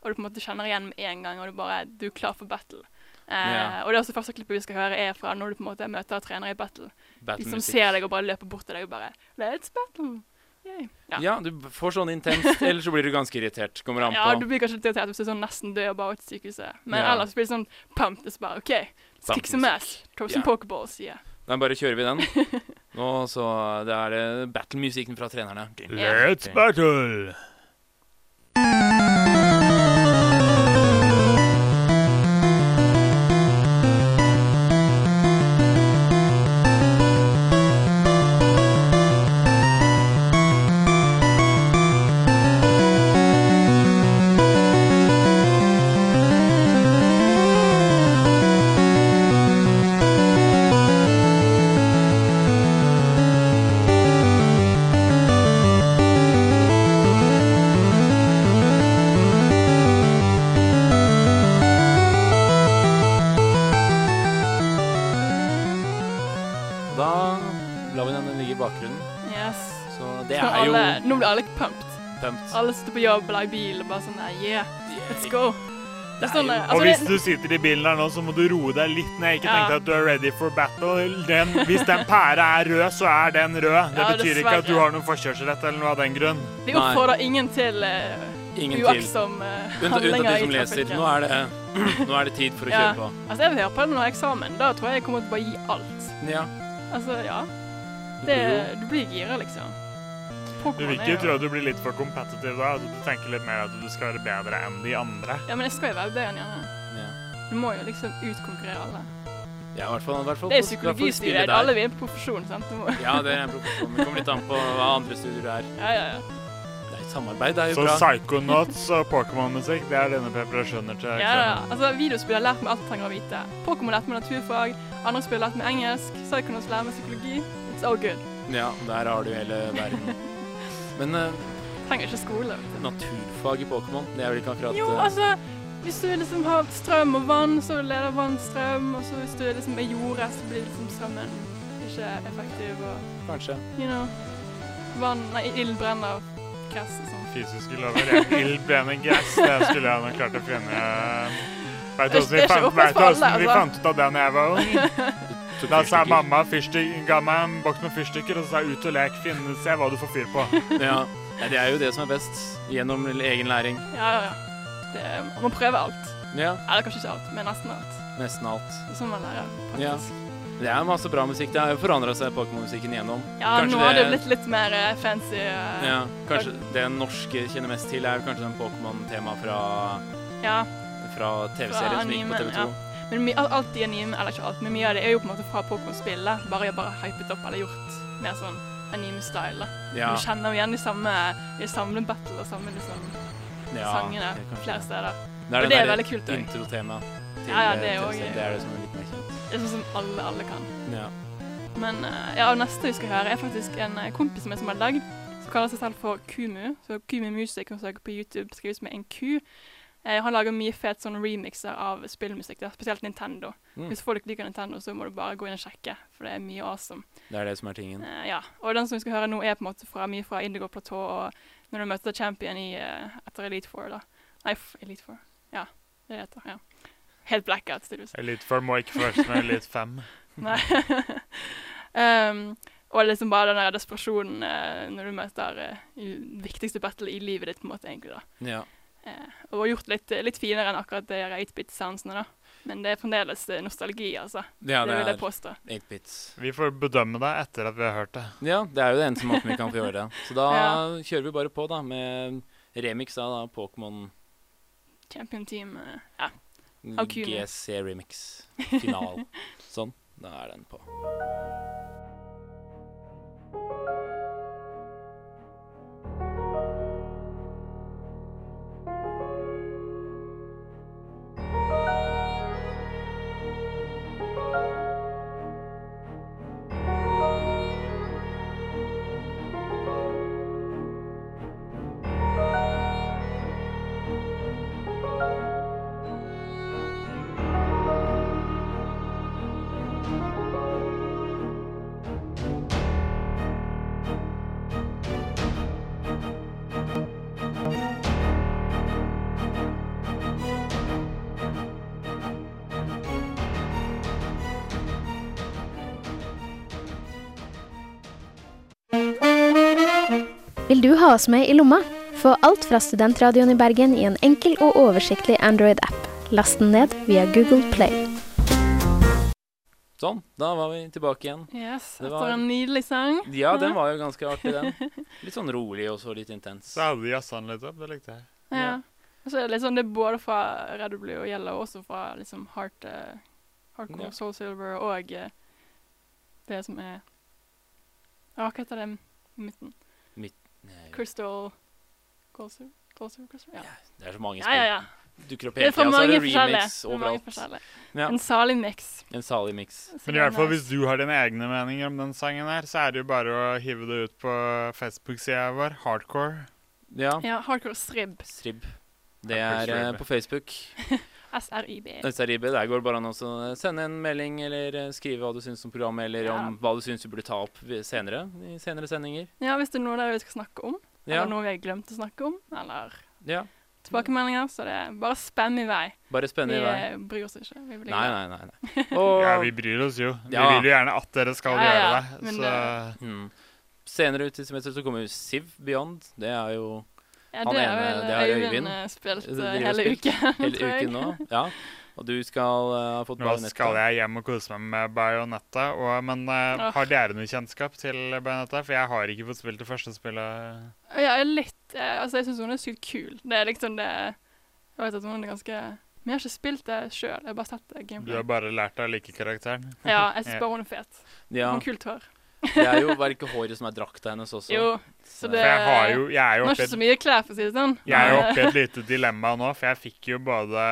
S4: Og du på en måte kjenner igjen med en gang, og du bare Du er klar for battle. Eh,
S3: Ja.
S4: Og det er også første klippet vi skal høre, er fra når du på en måte møter trenere i battle. De som
S3: Battle-musikk.
S4: Liksom ser deg og bare løper bort til deg og bare Let's battle! Yay.
S3: Ja. du b- får sånn intenst, eller så blir du ganske irritert. Kommer an på.
S4: Ja, du blir kanskje litt irritert hvis du er sånn nesten død og bare ut til sykehuset. Men
S3: Ja.
S4: ellers blir det sånn pumped. og Så bare OK, let's kick some
S3: Pumped.
S4: ass. Throw some
S3: Ja.
S4: pokeballs, yeah.
S3: Da bare kjører vi den. Og så det er det battle-musikken fra trenerne.
S5: Let's battle!
S4: alle,
S3: Jo.
S4: nå blir alle pumped.
S3: Pumped.
S4: Alle sitter på jobb eller i bil og bare sånn der, yeah, let's go. Det
S3: Det
S4: er
S3: er
S4: sånn der,
S5: og
S4: altså,
S5: hvis
S4: det,
S5: du sitter i bilen her nå, så må du roe deg litt ned. Ikke
S4: Ja.
S5: tenk deg at du er ready for battle. Den, hvis den pæra er rød, så er den rød. Det
S4: Ja,
S5: betyr ikke
S4: dessverre.
S5: at du har noen forkjørsrett eller noe av den grunn.
S4: vi oppfordrer ingen til eh,
S3: Ingen til.
S4: uaktsom
S3: Unntatt
S4: eh,
S3: unntatt
S4: handlinger
S3: de
S4: i
S3: som leser.
S4: trafikken.
S3: Nå er det, nå er det tid for å
S4: Ja.
S3: kjøre på.
S4: Altså, jeg vil høre på den når jeg har eksamen. Da tror jeg jeg kommer til å bare gi alt.
S3: Ja.
S4: Altså, ja.
S3: det
S4: Det,
S3: blir jo-
S4: du blir gira, liksom.
S5: Du vil ikke tro at du blir litt for competitive da. at Du tenker litt mer at du skal være bedre enn de andre.
S4: Ja, men jeg skal jo være bedre enn gjerne.
S3: Ja.
S4: Du må jo liksom utkonkurrere alle.
S3: Ja, i hvert fall, i hvert fall
S4: Det er
S3: i hvert fall i spillet
S4: psykologistudier.
S3: der.
S4: Alle vil inn på profesjon, sant? Du må.
S3: Ja, det er en profesjon. Det kommer litt an på hva andre studier det er.
S4: Ja, ja, ja.
S3: Det er samarbeid, det er jo
S5: Så
S3: bra.
S5: Psychonauts og Pokémon-musikk, det er dine preparasjoner til
S4: ja da.
S5: eksamen.
S4: Altså, videospill har lært meg alt jeg trenger å vite. Pokémon har lært meg naturfag. Andre spill har lært meg engelsk. Psychonauts lærer meg psykologi. It's all good.
S3: Ja, der har du hele verden. Men eh,
S4: Trenger ikke skole. vet du.
S3: naturfag i Pokémon, det er vel ikke akkurat
S4: Jo,
S3: eh,
S4: altså, hvis du liksom har strøm og vann, så leder vann strøm. Og så hvis du liksom er jorda, så blir liksom strømmen ikke effektiv. Og,
S3: Kanskje.
S4: you know, vann, nei, ild brenner gress og sånn.
S5: Fysiske lover. ja. Ild, ben og gress, det skulle jeg nok klart å finne. Vet du
S4: Det- det
S5: hvordan vi
S4: er ikke
S5: fant-
S4: åpent
S5: vet du
S4: for alle,
S5: hvordan vi
S4: altså.
S5: fant ut av det da jeg var ung?
S3: Tok
S5: Da sa
S3: fyrstikker.
S5: mamma fyrstik, ga meg en boks med fyrstikker og sa ut og lek, finne, se hva du får fyr på.
S3: Ja. Nei, det er jo det som er best. Gjennom egen læring.
S4: Ja, ja, ja. Det, man må prøve alt.
S3: Ja,
S4: Eller kanskje ikke alt, men nesten alt.
S3: nesten alt.
S4: Det er sånn man lærer,
S3: Ja.
S4: faktisk.
S3: Det er masse bra musikk. Det har jo forandra seg, Pokémon-musikken gjennom.
S4: Ja,
S3: Kanskje
S4: nå har det
S3: det-
S4: blitt litt mer eh, fancy. eh,
S3: Ja, kanskje det norske kjenner mest til, er jo kanskje den Pokémon-temaet fra,
S4: ja.
S3: fra TV-serien som gikk på
S4: animen,
S3: TV 2.
S4: Men mye, alt de anime, eller ikke alt, men mye av det er jo på en måte fra Pokémon-spillet. Bare jeg bare hypet opp eller gjort mer sånn anime-style. da.
S3: Ja,
S4: Du kjenner jo igjen de samme, de samme battle og samme liksom,
S3: ja,
S4: sangene
S3: det er kanskje
S4: flere
S3: det.
S4: steder.
S3: Det er,
S4: Og
S3: den
S4: det er
S3: der
S4: veldig kult òg.
S3: Introtema. til,
S4: Ja, ja,
S3: eh,
S4: det er jo-
S3: TV-serien. Det er det som er litt mer kjent.
S4: Det er sånn som alle, alle kan.
S3: Ja.
S4: Men eh, ja, og neste vi skal høre, er faktisk en eh, kompis som jeg som har lagd, som kaller seg selv for Kumu. Så Kumu Music, hun søker på YouTube, skrives med en Q. Eh, han lager mye fet sånn remixer av spillmusikk, da, spesielt Nintendo.
S3: Mm.
S4: Hvis folk liker Nintendo, så må du bare gå inn og sjekke, for det er mye awesome.
S3: Det er det som er tingen.
S4: Eh, ja, og den som vi skal høre nå, er på en måte fra, mye fra Indigo Platå, og når du møter Champion i, eh, etter Elite Four, da. Nei, f- Elite Four. Ja, det er det heter, ja. Helt blackout, tydeligvis.
S5: Elite 4 må ikke først med Elite 5.
S4: Nei. um, og liksom bare den der desperasjonen eh, når du møter eh, i- viktigste battle i livet ditt, på en måte, egentlig, da.
S3: Ja.
S4: Og gjort litt, litt finere enn akkurat de 8-bit-sansene, da. Men det er fremdeles eh, nostalgi, altså.
S3: ja,
S4: det
S3: det
S4: vil
S3: er
S4: jeg påstå.
S3: 8-bits.
S5: Vi får bedømme deg etter at vi har hørt det.
S3: Ja, det er jo det eneste måten vi kan få gjøre det. Så da kjører vi bare på, da, med remix av da, Pokémon
S4: Champion Team eh, Ja. Av Kuno.
S3: GC Remix final. Sånn. Da er den på.
S7: vil du ha oss med i lomma? Få alt fra Studentradioen i Bergen i en enkel og oversiktlig Android-app. Last den ned via Google Play.
S3: Sånn. Da var vi tilbake igjen.
S4: Yes,
S3: Det
S4: etter
S3: var-
S4: en nydelig sang.
S3: Ja, den var jo ganske artig, den. Litt sånn rolig og så litt intens.
S5: Så hadde de jazza den litt opp, det likte jeg.
S4: Ja.
S3: Ja.
S4: Og så er det litt sånn, det er både fra Red Blue og Yellow, og også fra liksom Heart, eh, Hardcore
S3: Ja.
S4: Soul Silver og eh, det som er Ja, hva heter det i midten?
S3: Nei,
S4: Crystal Closer? Closer? Crystal? Ja.
S3: Det er så mange
S4: ja, ja,
S3: spill.
S4: ja.
S3: Dukker opp hele
S4: Det er fra
S3: tida, så er
S4: mange
S3: det
S4: forskjellige.
S3: remix
S4: Det er mange
S3: overalt.
S4: forskjellige.
S3: Ja,
S4: En salig mix.
S3: en salig mix.
S5: Men i hvert fall hvis du har dine egne meninger om den sangen her, så er det jo bare å hive det ut på Facebook-sida vår, Hardcore.
S3: Ja.
S4: Ja, Hardcore Strib.
S3: Strib. Det er eh, på Facebook.
S4: SRIB.
S3: SRIB, der går det bare an å også sende en melding eller eh, skrive hva du syns om programmet, eller
S4: Ja.
S3: om hva du syns vi burde ta opp vi- senere. I senere sendinger.
S4: Ja, hvis det er noe der vi skal snakke om,
S3: Ja.
S4: eller noe vi har glemt å snakke om, eller
S3: ja.
S4: tilbakemeldinger, så det er bare spam i vei.
S3: Bare
S4: Vi
S3: spennende i vei.
S4: eh, bryr oss ikke. Vi blir
S3: Nei,
S4: glad.
S3: nei, nei. nei. Og
S5: Ja, vi bryr oss jo. Vi
S3: Ja.
S5: vil jo gjerne at dere skal
S4: Ja, ja, ja,
S5: gjøre det.
S4: men eh,
S5: Så
S3: mm, senere ut i semesteret så kommer jo Siv Beyond. Det er jo
S4: Ja,
S3: han
S4: det har
S3: ene,
S4: vel
S3: det er Øyvind.
S4: Øyvind eh, spilt
S3: Det- det
S4: eh,
S3: driver
S4: hele
S3: og spilt
S4: uken,
S3: hele
S4: tror jeg.
S3: uken nå. Ja. Og du skal eh, ha fått
S5: nå skal
S3: bajonettet.
S5: jeg hjem og kose meg med Bajonetta. Og, men eh,
S4: Åh.
S5: har dere noe kjennskap til Bajonetta? For jeg har ikke fått spilt det første spillet.
S4: Ja, jeg er litt eh, Altså, jeg syns hun er sykt kul. Det er liksom det Jeg vet at hun er ganske Men jeg har ikke spilt det sjøl, jeg har bare sett det
S5: Du har
S4: gameplay.
S5: bare lært deg å like karakteren.
S4: Ja, jeg
S5: Ja.
S4: syns bare hun er fet.
S3: Ja,
S4: Hun har kult hår.
S3: det er jo bare ikke håret som er drakta hennes også.
S4: Jo,
S3: Så-
S4: så
S5: For
S4: det
S5: jeg har jo Jeg er
S4: Hun har
S5: jo oppe
S4: ikke
S5: i
S4: så mye klær, for å si det sånn.
S5: jeg er jo
S4: Men,
S5: oppe i et lite dilemma nå, for jeg fikk jo både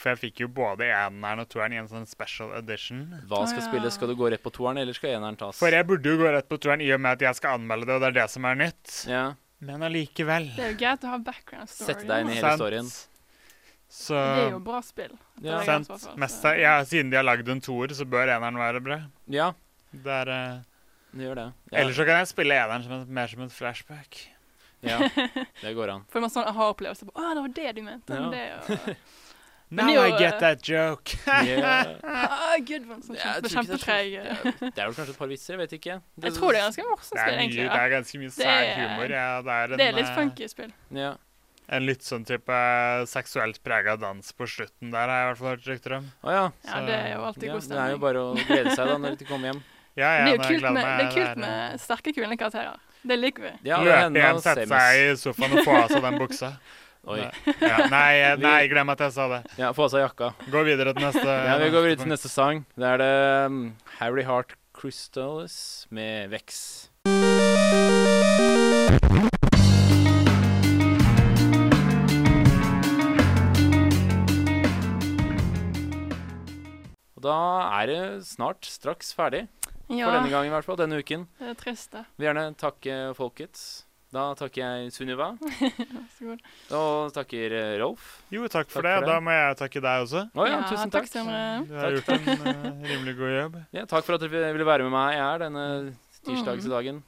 S5: For jeg fikk jo både eneren og toeren i en sånn special edition.
S3: Hva skal
S4: Å, ja.
S3: spilles? Skal du gå rett på toeren, eller skal eneren tas?
S5: For jeg burde jo gå rett på toeren i og med at jeg skal anmelde det, og det er det som er nytt.
S3: ja.
S5: Men allikevel.
S4: eh, Det er jo greit å ha background story.
S3: Sette deg inn i
S4: da.
S3: hele
S5: Sant.
S3: storyen.
S5: Så
S4: Det er jo bra spill.
S3: Ja.
S4: Det er greit, i
S5: sant.
S4: hvert fall, så-
S5: Mest, av- ja, siden de har lagd en toer, så bør eneren være bra.
S3: ja,
S5: Det er, eh,
S3: det gjør det. Ja.
S5: Ellers så kan jeg spille eneren som en, mer som en flashback.
S3: ja, det går an.
S4: Får man sånn aha-opplevelse på 'Å, det var det du mente'.
S3: Ja.
S4: Men det er jo
S5: Now
S4: Men det er
S5: I
S4: jo,
S5: get
S4: eh,
S5: that joke.
S3: Ja.
S4: ah, Good one. Sånn
S3: Jeg tror
S4: kjempe,
S3: ikke det er så-
S4: kjempetreg.
S3: Ja, Det er vel kanskje et par vitser, jeg vet ikke.
S4: Jeg tror det altså. er ganske morsomt
S5: Det er,
S4: spill,
S5: mye,
S4: egentlig.
S5: det
S4: Ja.
S5: er ganske mye
S4: Det
S5: sær
S4: er-
S5: humor. Ja, det, er en,
S4: Det er litt
S5: eh,
S4: funky spill.
S3: Ja.
S5: En litt sånn type seksuelt prega dans på slutten der, har jeg i hvert fall hørt rykter om.
S3: Å ja.
S4: Ja, det er jo alltid
S3: ja. Det er jo
S4: god stemning.
S3: bare å glede seg da når de kommer hjem.
S5: Ja, ja,
S4: Men Det er jo
S5: nei, jeg
S4: kult
S5: gleder
S4: med,
S5: meg,
S4: det er
S5: er,
S4: kult med sterke kvinnelige karakterer. Det liker vi.
S3: Ja, det er
S5: Løpe
S3: henne
S5: hjem,
S3: og
S5: sette
S3: Semis.
S5: seg i sofaen og få av seg den buksa.
S3: Oi.
S5: Ja, nei, eh, nei, glem at jeg sa det.
S3: Ja, få av seg jakka.
S5: Gå videre til neste.
S3: Ja, Eh, vi går videre til neste sang. Da er det um, Harry Heart Crystals med Vex. Og da er det snart straks ferdig, for denne
S4: Ja,
S3: gangen i hvert fall, denne uken.
S4: det er trist, det.
S3: Vil gjerne takke folket. Da takker jeg Sunniva,
S4: Vær så god.
S3: og takker eh, Rolf.
S5: Jo, takk
S3: Takk
S5: for
S3: for
S5: det.
S3: det.
S5: Da må jeg takke deg også.
S3: Å ja, tusen takk.
S4: Sindre.
S5: Du har
S3: Takk.
S5: gjort en eh, rimelig god jobb.
S3: Ja, takk for at dere ville være med meg her denne
S4: Mm.
S3: tirsdagsdagen.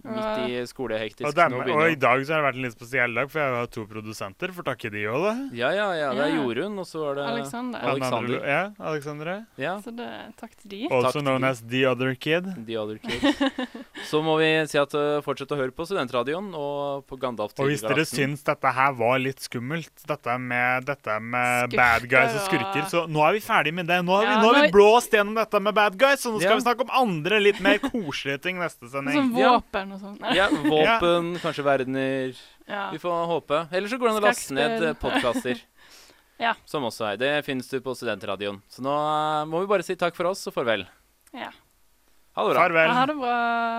S3: Midt i skolehektisk.
S5: Og, dem,
S3: Nå
S5: og i
S3: begynner-
S5: dag så har det vært en litt spesiell dag, for jeg har to produsenter. Får takke de òg, da.
S3: Ja, ja, ja. Det er
S4: Ja.
S3: Jorunn, og så er det
S4: Alexander.
S5: Den andre-
S3: Alexander.
S5: Ja, Alexandra.
S3: Ja,
S4: Så det, takk til de.
S5: Also
S3: til
S5: known
S3: de.
S5: as The Other Kid.
S3: The Other Kids. Så må vi si at uh, fortsett å høre på Studentradioen og på Gandalf til
S5: Og hvis dere
S3: galaksen.
S5: syns dette her var litt skummelt, dette med, dette med
S4: Skurker
S5: bad guys og
S4: og-
S5: skurker, så nå er vi ferdig med det. Nå har vi,
S4: Ja,
S5: nå har
S4: nå
S5: vi
S4: er-
S5: blåst gjennom dette med bad guys, så nå
S3: Ja.
S5: skal vi snakke om andre, litt mer koselige ting neste sending.
S4: Sånn
S3: Ja.
S4: våpen og sånn.
S3: Ja, våpen, kanskje verdener.
S4: Ja.
S3: Vi får håpe. Eller så går det an å laste ned
S4: Skrekkspill.
S3: eh, podkaster.
S4: Ja.
S3: Som også er. Det finnes du på Studentradioen. Så nå eh, må vi bare si takk for oss og farvel.
S4: Ja.
S3: Ha det bra.
S5: Farvel.
S4: Ha det bra.